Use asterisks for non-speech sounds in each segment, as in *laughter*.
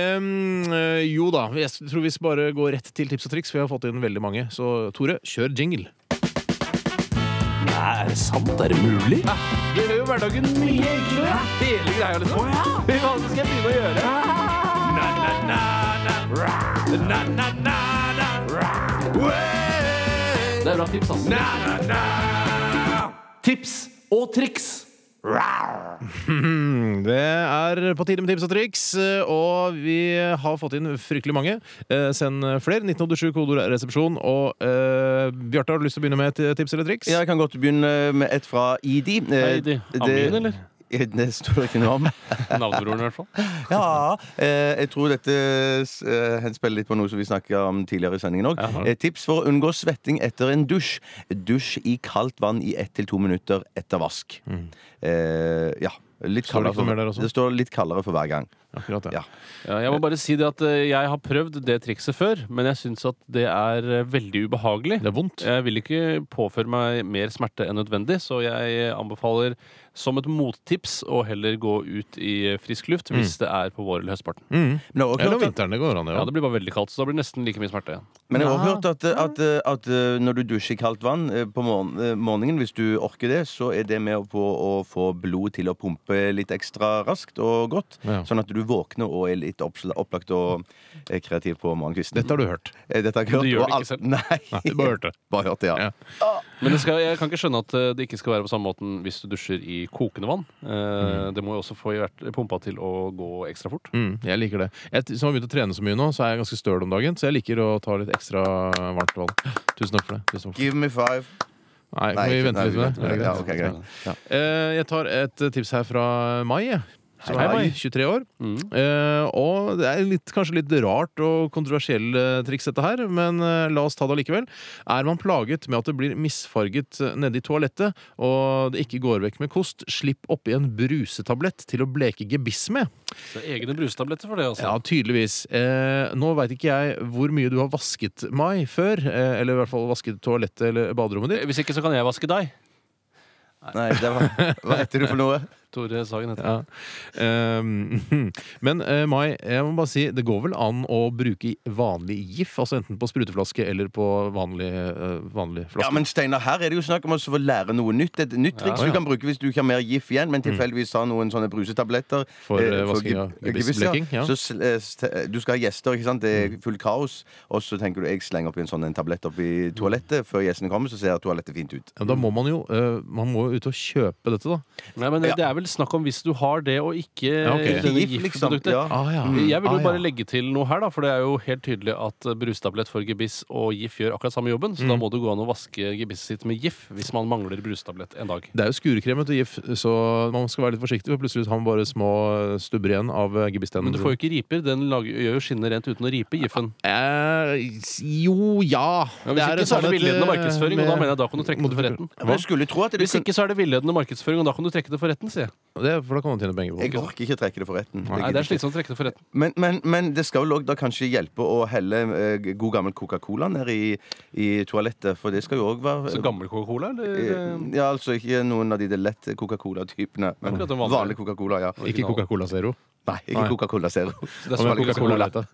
Ehm, eh, jo da, jeg tror vi bare går rett til tips og triks, for jeg har fått inn veldig mange. Så Tore, kjør jingle. Er det sant? Er det mulig? Det gjør jo hverdagen mye enklere. Hele greia, liksom. Hva skal jeg begynne å gjøre? Det er bra tips, ass. Tips og triks. Det er på tide med tips og triks, og vi har fått inn fryktelig mange. Eh, Send flere. 1987, kodeord er resepsjon. Og eh, Bjarte, har du lyst til å begynne med et eh, tips eller triks? Ja, jeg kan godt begynne med et fra Idi. Eh, Heidi. Amin, eller? Det står det ikke noe om. Navnebroren, i hvert fall. Ja, eh, jeg tror dette eh, henspiller litt på noe som vi snakket om tidligere i sendingen òg. Jaha. Tips for å unngå svetting etter en dusj. Dusj i kaldt vann i ett til to minutter etter vask. Eh, ja. Litt Står det kaldere ikke noe mer der for, også? det står litt kaldere for hver gang. *laughs* Akkurat, ja. Ja. Ja, jeg må bare si det at eh, jeg har prøvd det trikset før, men jeg syns at det er eh, veldig ubehagelig. Det er vondt. Jeg vil ikke påføre meg mer smerte enn nødvendig, så jeg eh, anbefaler som et mottips å heller gå ut i eh, frisk luft hvis det er på vår eller høstparten. Mm. Men jeg har også Eller om hørt at- vinteren. Det går an, det Ja, òg. Det blir bare veldig kaldt, så da blir det nesten like mye smerte igjen. Men jeg har også hørt at, at, at eh, når du dusjer i kaldt vann eh, på morgen- eh, morgenen, hvis du orker det, så er det med på å få blodet til å pumpe litt ekstra raskt og godt. Ja. Sånn at du våkner og er litt oppsla- opplagt og eh, kreativ på morgenkvisten. Dette har du *laughs* hørt. Eh, Dette har jeg Men du hørt. gjør og det ikke alt- selv? Nei. Nei, bare hørt det. Bare hørt det, ja. Ja. Men det skal, jeg kan ikke skjønne at eh, det ikke skal være på samme måten hvis du dusjer i kokende vann. Eh, Det må jo også få hjert- pumpa til å gå ekstra fort. Mm, jeg liker det. Jeg, som har begynt å trene så mye nå, så er jeg ganske støl om dagen. Så jeg liker å ta litt ekstra varmt vann. Tusen takk for det. Tusen takk for det. Give me five. Nei, kan vi vente litt med det? Er det? Ja, greit? ok, greit. Ja. Eh, Jeg tar et eh, tips her fra Mai. jeg. Som Hei, er Mai. 23 år. Mm. Eh, og det er litt, kanskje litt rart og kontroversiell eh, triks dette her, men eh, la oss ta det allikevel. Er man plaget med at det blir misfarget eh, nede i toalettet, og det ikke går vekk med kost, slipp oppi en brusetablett til å bleke gebiss med. Så egne brustabletter for det, altså. Ja, tydeligvis. Eh, nå veit ikke jeg hvor mye du har vasket Mai før, eh, eller i hvert fall vasket toalettet eller baderommet ditt. Eh, Hvis ikke så kan jeg vaske deg, Nei, det var, hva heter du for noe? Tore Sagen heter Ja. Ehm, *laughs* men eh, Mai, jeg må bare si det går vel an å bruke vanlig GIF? Altså enten på spruteflaske eller på vanlig, eh, vanlig Ja, flaske. men Steinar, her er det jo snakk om å få lære noe nytt. Et nytt Ja, triks Mm. ja. du kan bruke hvis du ikke har mer GIF igjen, men tilfeldigvis har noen sånne brusetabletter. For, eh, vasking av gib- gebiss, gebissbleking, ja. Så sl- eh, st- du skal ha gjester, ikke sant? Det er fullt kaos. Og så tenker du jeg slenger oppi en sånn en tablett oppi toalettet før gjestene kommer, så ser toalettet fint ut. Ja, men Da må man jo eh, Man må jo ut og kjøpe dette, da. Nei, men Det er vel snakk om hvis du har det og ikke Ja, ok. denne Gift, liksom. giftproduktet. Ja. Ah, ja. Jeg vil jo Ah, bare ja. legge til noe her, da, for det er jo helt tydelig at eh, brustablett for gebiss og GIF gjør akkurat samme jobben, så da må det gå an å vaske gebisset sitt med GIF hvis man mangler brustablett en dag. Det er jo skurekrem vet du, GIF, så man skal være litt forsiktig. For plutselig har man bare små stubber igjen av eh, gebisstenen. Men du får jo ikke riper. Den lager, gjør jo skinnet rent uten å ripe GIF-en. eh, Jo, ja. Ja, hvis ikke så er det villedende eh, markedsføring, og da mener jeg da kan du trekke det for retten. Men jeg skulle tro at det Hvis ikke så er det villedende markedsføring, og da kan du trekke det for retten, sier jeg. det, For da kan man tjene penger på Jeg orker ikke trekke det for retten. Nei, det er slitsomt å trekke det for retten. Men, men, men det skal vel òg da kanskje hjelpe å helle eh, god gammel Coca-Cola ned i, i toalettet, for det skal jo òg være Så gammel Coca-Cola, eller? Eh, Ja, altså ikke noen av de der lett Coca-Cola-typene. Men Akkurat den vanlige. vanlig Coca-Cola, ja. Ikke Coca-Cola Zero. Nei, ikke Nei. Coca-Cola Zero. Det er Og smak med i Coca-Cola Coca-Cola. Light, da.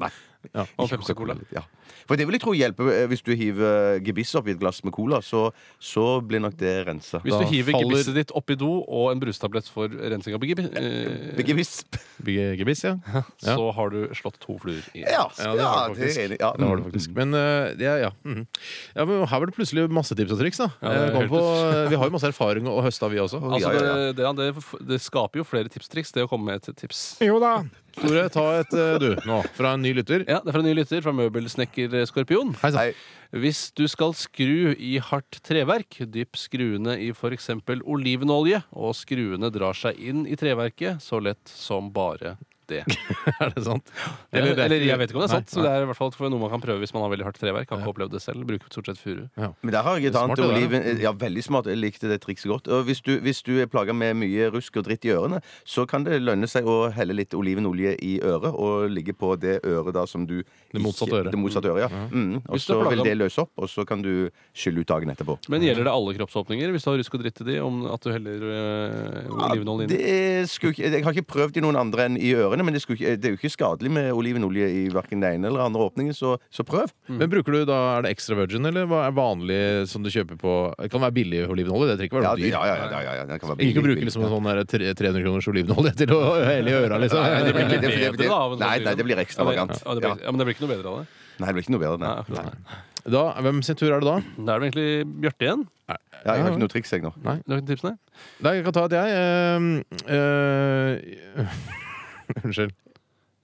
Nei. Ja. Og Pepsi-Cola. Ja. For det vil jeg tro hjelper eh, hvis du hiver gebiss oppi et glass med cola, så, så blir nok det rensa. Hvis Da du hiver faller- gebisset ditt oppi do og en brustablett for rensing av gebiss, eh, Gebiss. Bygge gebiss, ja. Ja. så har du slått to fluer *laughs* i Ja, Ja, ja, det det har du er faktisk. enig. Ja. mm. Det var det faktisk. Men eh, ja, ja. mhm. ja men her var det plutselig masse tips og triks. da Ja, det Eh, kom hørtes. på, Vi har jo masse erfaring å høste av, vi også. Å, Altså, ja, ja, ja. Det, det, det, det skaper jo flere tips og triks, det å komme med et tips. Jo da Tore, ta et eh, du nå, fra en ny lytter. Ja, Det er fra en ny lytter, fra møbelsnekker Skorpion. Hei sann. Hei. Hvis du skal skru i hardt treverk, dypp skruene i f.eks. olivenolje, og skruene drar seg inn i treverket så lett som bare det. Er det sant? Eller, det er ikke- jeg vet ikke om det er sant, så Nei, det nei. er i hvert fall noe man kan prøve hvis man har veldig hardt treverk. Har ikke opplevd det selv. Bruker stort sett furu. Men der har jeg et Smart, annet det der, oliven... Ja, veldig smart. Jeg likte det trikset godt. Og hvis du, hvis du er plaga med mye rusk og dritt i ørene, så kan det lønne seg å helle litt olivenolje i øret og ligge på det øret da som du Det motsatte øret. Det motsatte øret, ja. Mm. Og Hvis du er så plaget- vil det løse opp, og så kan du skylle ut dagen etterpå. Men gjelder det alle kroppsåpninger hvis du har rusk og dritt i de, om at du heller øh, olivenolje inn? Det skulle ikke, jeg har ikke prøvd i noen andre enn i ørene, ørene, men det, skulle ikke, det er jo ikke skadelig med olivenolje i hverken den ene eller andre åpningen, så, så prøv. Men bruker du da, Er det extra virgin, eller hva er vanlig som du kjøper på Det kan være billig olivenolje. Det trenger ikke være Ja, noe dyr. ja, ja, ja, ja, ja, den kan være Ikke å billig, bruke billig. liksom en sånn der tre- 300 kroners olivenolje til å *laughs* helle i øra, liksom. Nei, det blir ikke det- det- bedre da, av en sånn nei, video. nei, det blir ekstravagant. Ja, det, ja, det blir, ja, men det blir ikke noe bedre av det. Nei, det blir ikke noe bedre. Nei. Nei, nei. Da, Hvem sin tur er det da? Da er det vel egentlig Bjarte igjen. Ja, jeg har ikke noe triks, jeg nå. Du har ikke tips, nei? Nei, jeg kan ta et jeg. Eh, *laughs* eh, Unnskyld.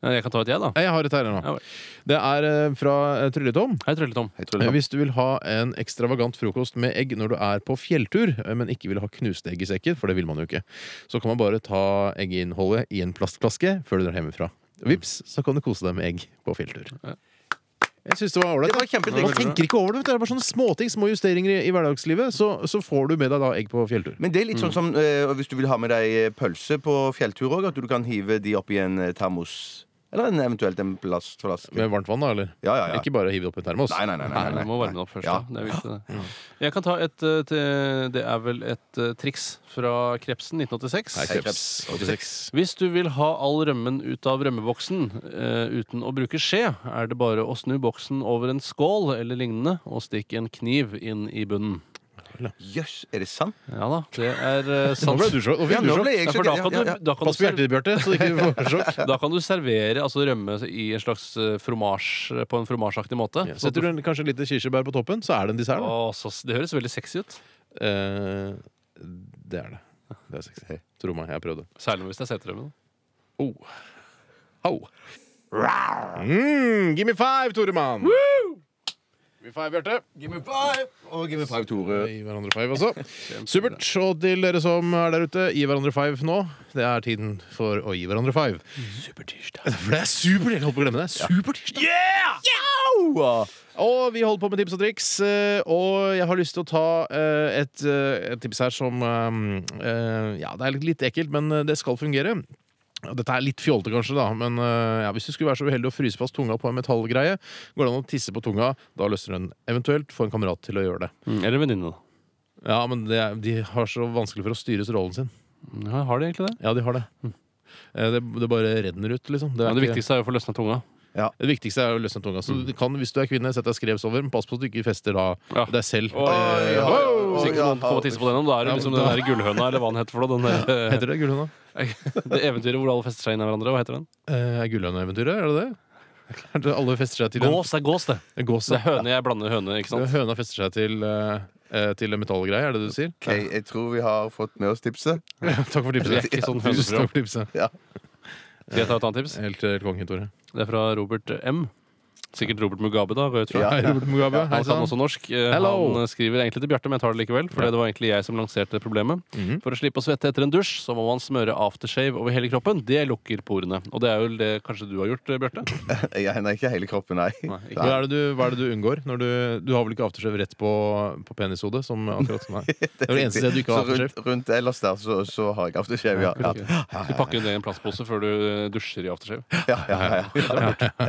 Ja, Jeg kan ta et jeg, da. Nei, Jeg har et her nå. Ja vel. Det er eh, fra eh, Trylletom. Hei, Trølle-Tom. Jeg tror det Eh, Hvis du vil ha en ekstravagant frokost med egg når du er på fjelltur, eh, men ikke vil ha knuste egg i sekken, for det vil man jo ikke, så kan man bare ta egginnholdet i en plastflaske før du drar hjemmefra. Vips, så kan du kose deg med egg på fjelltur. Jeg synes det var ålreit. Det var kjempetriks. Man tenker ikke over det. vet du. Det er bare sånne småting, små justeringer i, i hverdagslivet. Så, så får du med deg da egg på fjelltur. Men det er litt sånn som eh, hvis du vil ha med deg pølse på fjelltur òg, at du kan hive de oppi en eh, termos. Eller en, eventuelt en plastflaske. Med varmt vann, da, eller? Ja, ja, ja. Ikke bare hive det opp i en termos. Nei, nei, nei. nei, Nei, nei, Du må varme den opp først. Ja. da. Det er viktig, det. Jeg kan ta et eh, til Det er vel et eh, triks fra Krepsen 1986. Hei, kreps. 86. Hvis du vil ha all rømmen ut av rømmeboksen eh, uten å bruke skje, er det bare å snu boksen over en skål eller lignende og stikke en kniv inn i bunnen. Jøss, er det sant? Ja da, det er eh, Nå sant. ble du så, nå fikk Ja, du nå sjokk. ble jeg Ja, så for da kan du, da kan du Pass på hjertet ditt, Bjarte, så *laughs* ikke du får sjokk. *laughs* Da kan du servere altså rømme i en slags eh, fromasj på en fromasjaktig måte. Ja, Så at du- Setter du en, kanskje litt kirsebær på toppen, så er det en dessert. Da. Å, så, s- det høres veldig sexy ut. Eh, det er det. Det er sexy. Tro meg, jeg prøvde. Særlig hvis det er seterømme. Oh. Au. Mm, give me five, Toremann! Give me five, Bjarte. Give me five! Og give me five, Tore. Gi hverandre five, altså. Supert. Og til dere som er der ute, gi hverandre five nå. Det er tiden for å gi hverandre five. Supertirsdag. *laughs* For det er super, jeg holdt på å glemme det. Supertirsdag. Og vi holder på med tips og triks, eh, og jeg har lyst til å ta eh, et, eh, et tips her som eh, eh, Ja, det er litt- litt ekkelt, men eh, det skal fungere. Og Dette er litt fjolte, kanskje, da, men eh, ja, hvis du skulle være så uheldig å fryse fast tunga på en metallgreie, går det an å tisse på tunga. Da løsner den. Eventuelt få en kamerat til å gjøre det. Mm, Eller venninne, da. Ja, men det, er- de har så vanskelig for å styre rollen sin. Mm, Ja, har de egentlig det? Ja, de har det. Eh, Det, det bare renner ut, liksom. Det, er Ja, det ikke- viktigste er jo å få løsna tunga. det viktigste er å løsne tunga. Så du kan, hvis du er kvinne, sett deg skrevs over, men pass på at du ikke fester da Ja. deg selv. Oi, Eh, ja. wow! Hvis ikke Ja, noen kommer og tisser på den, da er det liksom den der gullhøna, eller hva den heter for noe. Eh, *laughs* Den der, Heter det Gullhøna? eh, *laughs* det eventyret hvor alle fester seg inn i hverandre. Hva heter den? Eh, Er Gullhøna-eventyret? Er det det? Er det alle fester seg til en- Gås er gås, det. en gås? Det er høne jeg blander høne, ikke sant? Høna fester seg til, eh, eh, til en metallgreie, er det det du sier? Ok, Jeg tror vi har fått med oss tipset. Takk for tipset. Vi er ikke sånn Tusen høneprogram. takk for tipset. Skal jeg ta et annet tips? Helt eh, konge, Tore. Det er fra Robert M. Sikkert Robert Mugabe, da. Går jeg ut fra. Ja. Hei, Robert Mugabe. Hei Han kan sann. også norsk. Eh, Hello. Han eh, skriver egentlig til Bjarte, men jeg tar det likevel. For det var egentlig jeg som lanserte problemet. Mhm. For å slippe å svette etter en dusj, så må man smøre aftershave over hele kroppen. Det lukker porene. Og det er jo det kanskje du har gjort, eh, Bjarte? Jeg nei, ikke hele kroppen, nei. Nei, ikke. Hva er, det du, hva er det du unngår? Når du, du har vel ikke aftershave rett på, på penishodet? Som akkurat sånn her. Det er det eneste stedet du ikke har Så rundt, aftershave. rundt ellers der så, så har jeg aftershave, ja. Ja, Du pakker jo det i en plastpose før du eh, dusjer i aftershave. ja, ja, ja.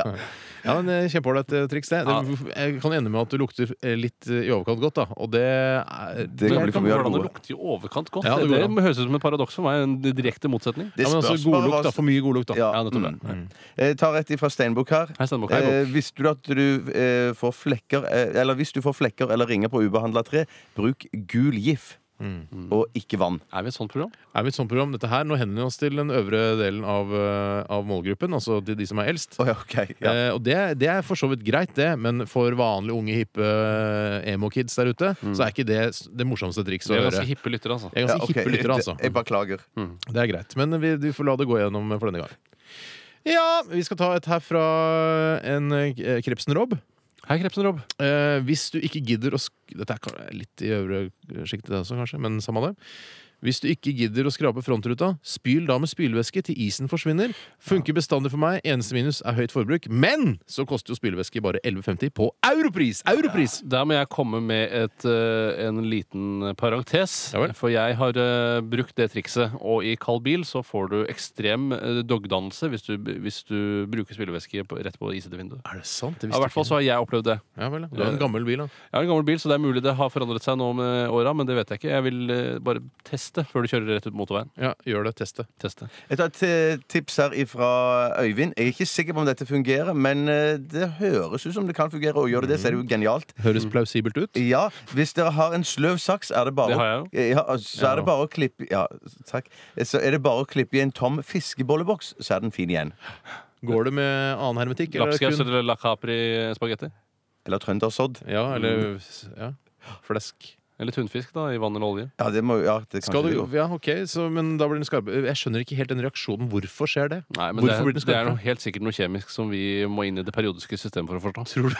Ja, men eh, Kjempeålreit eh, triks, det. det. Jeg kan ende med at du lukter eh, litt eh, i overkant godt, da. Og det er Det kan bli for mye av det Hvordan det gode. lukter i overkant godt. Ja, det det, går det, høres ut som et paradoks for meg. En direkte motsetning. Det ja, men altså, spørs god bare hva- lukt, da. For mye god lukt, da. Ja, Ja, nettopp det. mm. Jeg tar et fra Steinbukk her. Hei, Steinbukk. Hei, Eh, visste du at du eh, får flekker eh, Eller hvis du får flekker eller ringer på ubehandla tre, bruk gul gif Mm. og ikke vann. Er vi et sånt program? er vi et sånt program. Dette her, Nå henvender vi oss til den øvre delen av, eh, av målgruppen, altså til de som er eldst. Å, ja, ok, ja. Eh, og det, det er for så vidt greit, det, men for vanlige unge, hippe eh, emo-kids der ute, så er ikke det s- det morsomste trikset Vi å er høre. ganske hippe lyttere, altså. Jeg er Ja, ganske ok, hippe lyttere, altså. Jeg beklager. Det er greit. Men vi, vi får la det gå gjennom for denne gang. Ja, vi skal ta et her fra en eh, Krepsen-Rob. Hei, Krepsen Rob. Eh, hvis du ikke gidder å sk Dette er ka- litt i øvre sjiktet, det også, kanskje, men samme det. Hvis du ikke gidder å skrape frontruta, spyl da med spylvæske til isen forsvinner. Funker bestandig for meg. Eneste minus er høyt forbruk. Men så koster jo spylvæske bare 11,50 på europris! Europris! Der må jeg komme med et, eh, en liten parentes. Ja vel. for jeg har eh, brukt det trikset. Og i kald bil så får du ekstrem uh, dogdannelse hvis du, hvis du bruker spylevæske på- rett på isete vindu. Er det sant? Det Ja, I hvert fall så har jeg opplevd det. Ja vel, ja. Du har en gammel bil, da. Jeg har en gammel bil, så det er mulig det har forandret seg nå med åra, men det vet jeg ikke. Jeg vil eh, bare det før du kjører rett ut på motorveien. Ja, gjør det. Test det. Test det. Jeg tar et eh, tips her fra Øyvind. Jeg er ikke sikker på om dette fungerer, men eh, det høres ut som det kan fungere. Og gjør det det, så er det jo genialt. Høres plausibelt ut. Ja, Hvis dere har en sløv saks, er det bare, Det har å- ja, så Ja. er det bare å klippe Ja, takk. Så er det bare å klippe i en tom fiskebolleboks, så er den fin igjen. Går det med annen hermetikk? eller er det Lapskaus kun- eller la capri-spagetti. Eller trøndersodd. Ja, Mm. eller ja. flesk. Eller tunfisk da, i vann eller olje. Ja, det må ja, det, Skal kanskje det du, går. ja, ok, så, men da blir den skarpe. Jeg skjønner ikke helt den reaksjonen. Hvorfor skjer det? Nei, men det Hvorfor er, blir den det er skarpere? noe, helt sikkert noe kjemisk som vi må inn i det periodiske systemet for å forstå. Tror du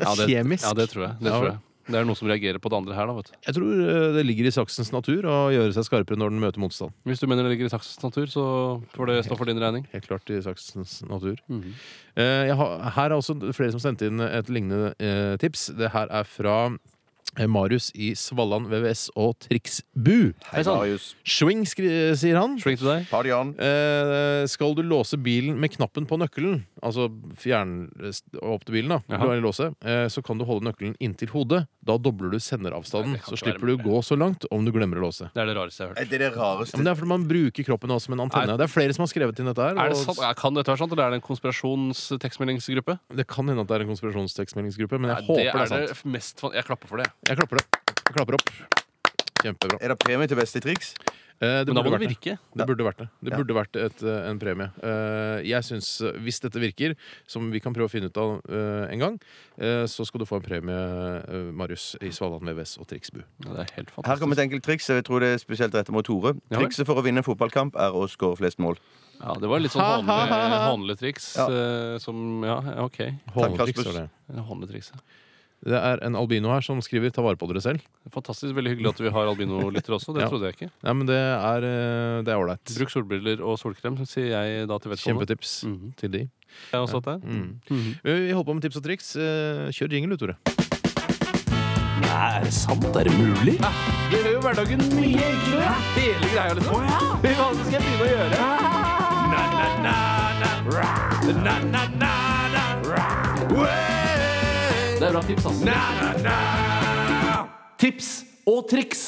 Ja, det, Kjemisk? Ja, det tror jeg. Det, Ja, tror jeg. det er noe som reagerer på det andre her, da, vet du. Jeg tror eh, det ligger i saksens natur å gjøre seg skarpere når den møter motstand. Hvis du mener det ligger i saksens natur, så får det stå for din regning. Helt klart i saksens natur. Mhm. Eh, jeg har, her er også flere som sendte inn et lignende eh, tips. Det her er fra eh, Marius i Svalland VVS og Triksbu. Hei, sann. Marius. Swing, skri, sier han. Swing til deg. Ha det, Jan. Eh, skal du låse bilen med knappen på nøkkelen, altså fjern opp til bilen, da, Jaha. eller låse, eh, så kan du holde nøkkelen inntil hodet. Da dobler du senderavstanden. Nei, det så kan ikke være slipper du å mulig. gå så langt om du glemmer å låse. Det er det rareste jeg har hørt. Er det det Ja, men rareste? det er fordi man bruker kroppen også som en antenne. Det er flere som har skrevet inn dette her. Er det og sant? Ja, Kan dette være sant, eller er det en konspirasjonstekstmeldingsgruppe? det kan hende at det er en konspirasjonstekstmeldingsgruppe, men jeg Nei, håper det er sant. det mest fan... Jeg klapper for det. Jeg klapper det. Jeg klapper opp. Kjempebra. Er det premie til beste triks? Eh, det Men da burde må det vært det. virke. Det burde vært det. Det Ja. burde vært et, eh, en premie. Eh, jeg syns, eh, hvis dette virker, som vi kan prøve å finne ut av eh, en gang, eh, så skal du få en premie, eh, Marius, i Svaland VVS og Triksbu. Ja, det er helt Her kommer fantastisk. et enkelt triks. og Jeg tror det er spesielt rettet mot Tore. Ja vel. Trikset for å vinne en fotballkamp er å skåre flest mål. Ja, det var litt sånn Ha, ha, ha, hånlig, ha. hånlig triks Ja. eh, som Ja, ok. Takk, Hånetriks Rasmus. er det. Hånlig triks, ja. Det er en albino her som skriver 'ta vare på dere selv'. Fantastisk. Veldig hyggelig at vi har albinolyttere også. Det Ja. trodde jeg ikke. Nei, men det er eh, det er ålreit. Bruk solbriller og solkrem, sier jeg da til vedkommende. Kjempetips Mhm. til de. Jeg har også hatt det. Mm. Vi holder på med tips og triks. Eh, Kjør jingle, du, Tore. Er det sant? Er det mulig? Det gjør jo hverdagen mye enklere. Hele greia, liksom. Hva skal jeg begynne å gjøre? Det er bra tips, ass. Tips og triks.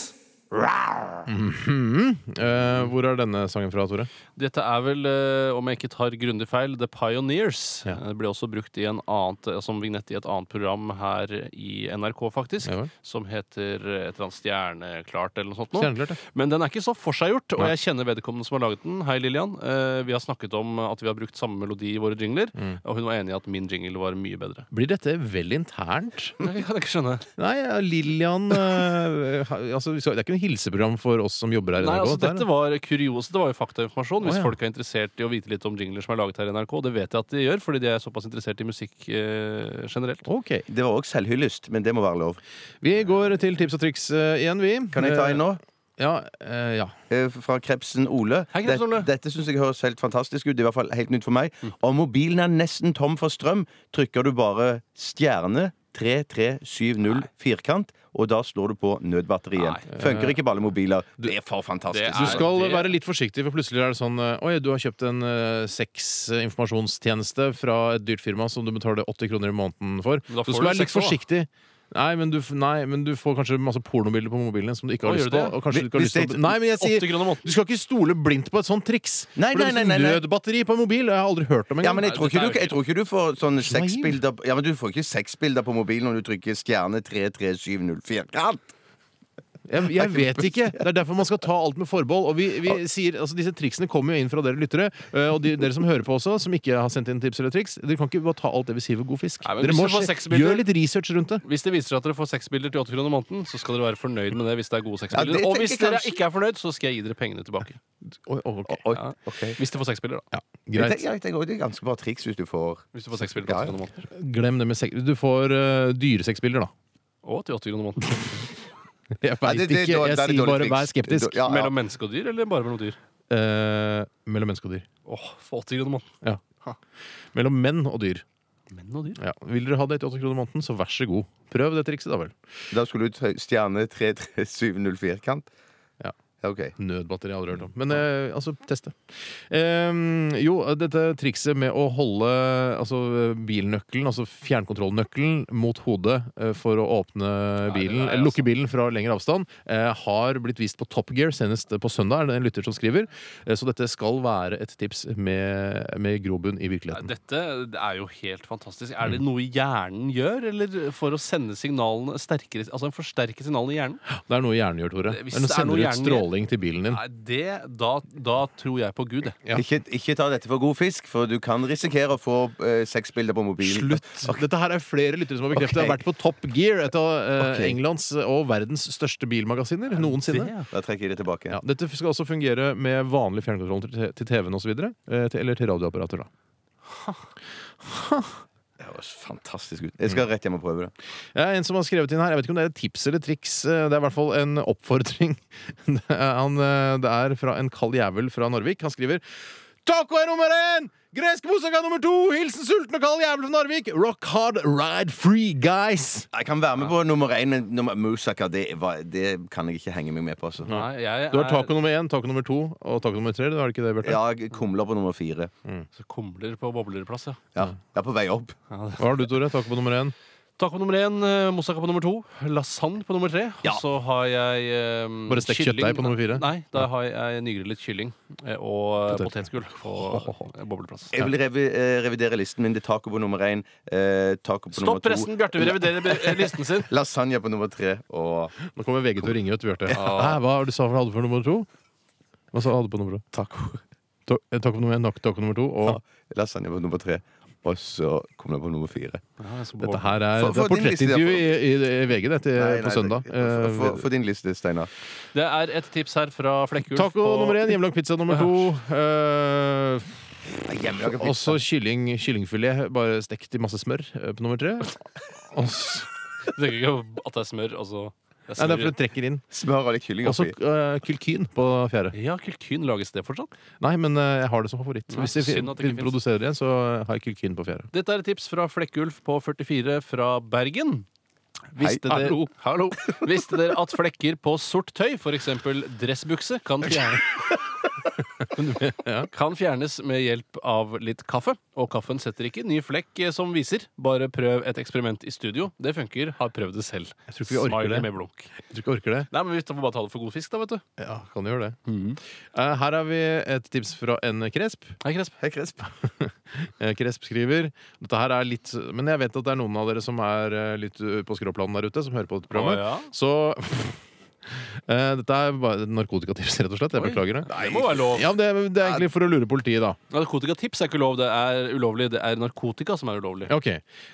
Eh, Hvor er denne sangen fra, Tore? Dette er vel, eh, om jeg ikke tar grundig feil, The Pioneers. Det ble også brukt i en annet, eh, som vignett i et annet program her i NRK, faktisk. Ja vel. Som heter eh, et eller annet Stjerneklart eller noe sånt. nå. Stjerneklart, ja. Men den er ikke så forseggjort, og Nei. jeg kjenner vedkommende som har laget den. Hei, Lillian. Eh, vi har snakket om at vi har brukt samme melodi i våre jingler, Mm. og hun var enig i at min jingle var mye bedre. Blir dette vel internt? Det kan jeg ikke skjønne. Nei, ja, Lillian eh, ha- altså, vi skal, Det er ikke noe hilseprogram for oss som jobber her i Nei, NRK. altså dette her, Dette var kurios, det var jo faktainformasjon. Hvis Å, ja. folk er interessert i å vite litt om jingler som er laget her i NRK, det vet jeg at de gjør, fordi de er såpass interessert i musikk eh, generelt. Ok, Det var òg selvhyllest, men det må være lov. Vi går til tips og triks eh, igjen, vi. Kan jeg ta en nå? Ja. eh, ja. Eh, Fra Krebsen Ole. Hei, Krebsen Ole. Dette, dette syns jeg høres helt fantastisk ut. Det er i hvert fall helt nytt for meg. Om mobilen er nesten tom for strøm, trykker du bare stjerne 3370 firkant, og da slår du på nødbatteriet. Funker ikke på alle mobiler. Det er for det fantastisk. Du er- skal det- være litt forsiktig, for plutselig er det sånn eh, Oi, du har kjøpt en eh, sexinformasjonstjeneste fra et dyrt firma som du betaler 80 kroner i måneden for. Men Så da får du du skal være litt sex også, forsiktig. Nei men, du, f- nei, men du får kanskje masse pornobilder på mobilen din som du ikke har Å, gjør lyst du på. det? Og kanskje du ikke har Hvis lyst til det- å Nei, men jeg 80 sier kroner i måneden. Du skal ikke stole blindt på et sånt triks! Nei, For det nei, er nei, sånn nei, nei. Nødbatteri på en mobil har jeg aldri hørt om Ja, engang. men jeg tror, ikke Nei, du, dette er jeg tror ikke du får sånne naiv. sexbilder Ja, men du får ikke sexbilder på mobilen når du trykker stjerne 3370 firkant. Jeg, jeg vet ikke. Det er derfor man skal ta alt med forbehold. Og vi, vi Ah. sier, altså Disse triksene kommer jo inn fra dere lyttere. eh, Og de, dere som hører på også, som ikke har sendt inn tips eller triks. Dere kan ikke bare ta alt det vi sier for god fisk. Nei, men dere hvis må du får se- seks bilder- gjøre litt research rundt det. Hvis det viser seg at dere får sexbilder til 80 kroner i måneden, så skal dere være fornøyd med det hvis det er gode sexbilder. det og tenker hvis jeg dere kanskje. ikke er fornøyd, så skal jeg gi dere pengene tilbake. Oi, oi, ok. Oi, oh, Ja. ok Hvis dere får sexbilder, da. Ja, Jeg greit. tenker, jeg tenker også det er ganske bra triks hvis du får Hvis du får sexbilder til 80 kroner i måneden. Glem det med seks Du får uh, *laughs* dyresexbilder, da. Og til 80 kroner i måneden. Jeg Nei, veit ikke. det- det- det er dårlig- Jeg det er sier dårlig bare triks. vær skeptisk. Det- ja, ja. Mellom menneske og dyr, eller bare mellom dyr? Eh, mellom menneske og dyr. Åh, for 80 kroner i måneden. Ja. Ha. Mellom menn og dyr. Menn og dyr? Ja. Vil dere ha det til 80 kroner i måneden, så vær så god. Prøv det trikset, da vel. Da skulle du ta stjerne 3370 firkant. Ja. Ja, ok. Nødbatteri har jeg aldri hørt om. Men eh, altså, test det. Eh, jo, dette trikset med å holde altså, bilnøkkelen, altså fjernkontrollnøkkelen, mot hodet eh, for å åpne bilen, nei, altså- eller lukke bilen fra lengre avstand, eh, har blitt vist på Top Gear senest på søndag. Er det en lytter som skriver? Eh, så dette skal være et tips med, med grobunn i Nei, virkeligheten. Dette er jo helt fantastisk. Er det noe hjernen gjør, eller for å sende signalene sterkere Altså en forsterke signalene i hjernen? Det er noe hjernen gjør, Tore. Det- hvis Det er noe det er sender noe ut hjernen stråling til bilen din. Nei, det, da, da tror jeg på Gud, jeg. Ja. Ikke, ikke ta dette for god fisk, for du kan risikere å få eh, sexbilder på mobilen. Slutt! Dette her er flere lyttere som har bekreftet. Jeg har vært på Top Gear, et av eh, Ok. Englands og verdens største bilmagasiner noensinne. Det- Da trekker jeg det tilbake. Ja, dette skal også fungere med vanlig fjernkontroll til, te- til TV-en osv. Eller eh, til radioapparater. da Det høres fantastisk ut. Jeg skal rett hjem og prøve det. Det er en som har skrevet inn her. Jeg vet ikke om det er et tips eller triks. eh, Det er i hvert fall en oppfordring. *laughs* Det er, han, eh, det er fra en kald jævel fra Narvik. Han skriver Taco er nummer én! Gresk moussaka er nummer to! Hilsen sulten og kald jævel fra Narvik! Rock hard, ride free, guys! Jeg kan være med på nummer én, men nummer- Moussaka det, var- det kan jeg ikke henge meg med på. Altså. Nei, jeg Du har taco er nummer én, taco nummer to og taco nummer tre. Du har ikke det, Bjarte? Ja, jeg kumler på nummer fire. så kumler på boblerplass, ja. Ja, jeg er på vei opp. Hva har du, Tore? Taco på nummer én? Taco på nummer én, eh, moussaka på nummer to, lasagne på nummer tre. Ja. Og så har jeg eh, Bare stekt kylling- kjøttdeig på nummer fire? Nei, da har jeg nygrillet kylling eh, og Potet. potetgull *laughs* på eh, bobleplass. Jeg vil revi eh, revidere listen min. Det er taco på nummer én. Eh, taco på nummer Stopp to. resten! Bjarte vil revidere be- eh, listen sin. Lasagne på nummer tre. Og Nå kommer VG til å ringe ut, Bjarte. Hæ, Hva var det du sa for hadde for nummer to? Hva sa hadde på nummer to? taco. Ta- eh, Taco nummer én, nok taco nummer to. Og Ja, lasagne på nummer tre. Og så kumler på nummer fire. dette her er, For- for det er din liste, ja, for- portrettintervju i, i, i VG det, til, Nei, nei, Eh, på søndag. Eh, det- For, for, for din liste, Steinar. Det er et tips her fra Flekkulf. Taco på- nummer én, hjemmelagd pizza nummer to. eh, Hjemmelaga og så kylling, kyllingfilet bare stekt i masse smør eh, på nummer *laughs* tre. Og så- Du tenker ikke at det er smør, altså. Nei, Det er smør. det er for det trekker inn. Smør og litt kylling Og så oppi. eh, kylkyn på fjerde. Ja, kulkyn lages det fortsatt. Nei, men eh, jeg har det som favoritt. Nei, Hvis jeg synd at det ikke fin- produserer igjen, så har jeg kylkyn på fjerde. Dette er et tips fra Flekkulf på 44 fra Bergen. Visste Hei. dere, hallo. *laughs* Visste dere at flekker på sort tøy, f.eks. dressbukse, kan, *laughs* fjerne, kan fjernes med hjelp av litt kaffe? Og kaffen setter ikke ny flekk eh, som viser. Bare prøv et eksperiment i studio. Det funker. Har prøvd det selv. Jeg tror ikke vi orker Smiley det. med blunk. Jeg tror ikke jeg orker det. Nei, men Vi får bare ta det for god fisk, da. vet du Ja, kan du gjøre det. Eh, her har vi et tips fra en kresp. Hei, Kresp. Hei, Kresp. *laughs* Eh, Kresp skriver Dette her er litt Men jeg vet at det er noen av dere som er eh, litt eh, på skråplanen der ute, som hører på dette programmet. Å, ja. Så *laughs* eh, Dette er bare et narkotikatips, rett og slett. Jeg Oi. beklager det. Det må være lov. Ja, men det, er- det er egentlig for å lure politiet, da. Narkotikatips er ikke lov. Det er ulovlig. Det er narkotika som er ulovlig. Ja, Ok,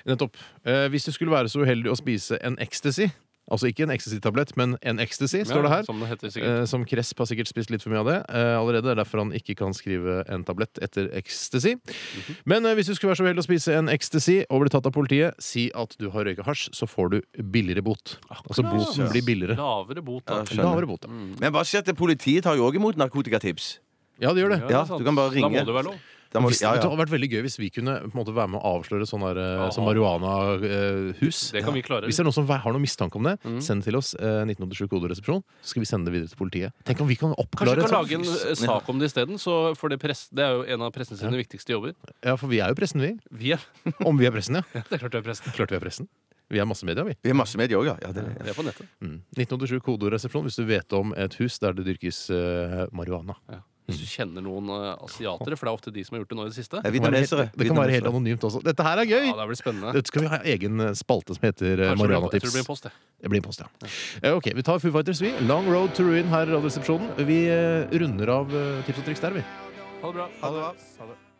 nettopp. Eh, hvis du skulle være så uheldig å spise en ecstasy, altså ikke en ecstasy-tablett, men en ecstasy, står det her. sånn Som det heter sikkert. Eh, Som Kresp har sikkert spist litt for mye av det eh, allerede. Det er derfor han ikke kan skrive en tablett etter ecstasy. Mhm. Men eh, hvis du skulle være så uheldig å spise en ecstasy og bli tatt av politiet, si at du har røyka hasj, så får du billigere bot. Altså boten blir billigere. Lavere bot. Da. Ja, skjønner. Lavere bot, ja. Men bare si at politiet tar jo òg imot narkotikatips. Ja, det gjør det. det er Ja, sant. du kan bare ringe. Da må det være lov. Da må, Hvis, ja, Det ja. hadde vært veldig gøy hvis vi kunne på en måte, være med å avsløre sånn der, eh, som eh, Ja. marihuana-hus. Det kan vi klare. Hvis det er noen som har noen mistanke om det, Mm. send det til oss. Eh, 1987 koderesepsjon. Så skal vi sende det videre til politiet. Tenk om vi kan Kanskje oppklare vi kan et lage en eh, sak om det isteden? så- For det, press, det er jo en av pressen sine viktigste jobber. sånt- Ja, for vi er jo pressen, vi. Vi er, *laughs* Om vi er pressen, ja. det er klart vi er pressen. Klart vi er pressen. Vi er massemedia, vi. Vi har masse medier òg, ja. ja, det, Vi er på nettet. 1987 koderesepsjon hvis du vet om et hus der det dyrkes eh, marihuana. Hvis du kjenner noen eh, asiatere, for det er ofte de som har gjort det nå i det siste. Nei, Det kan være helt, Vietnamesere. det kan være helt Vietnamesere. anonymt også. Dette her er gøy! Ja, det blir spennende. Dette skal vi ha egen eh, spalte som heter eh, Kanskje det blir- jeg tror Marihuana-tips. det blir en post, det. Det blir en post, ja. Eh, Ok, Vi tar Foo Fighters, vi. Long Road to Ruin her i Radioresepsjonen. Vi eh, runder av eh, tips og triks der, vi. Ha det bra. Ha det bra.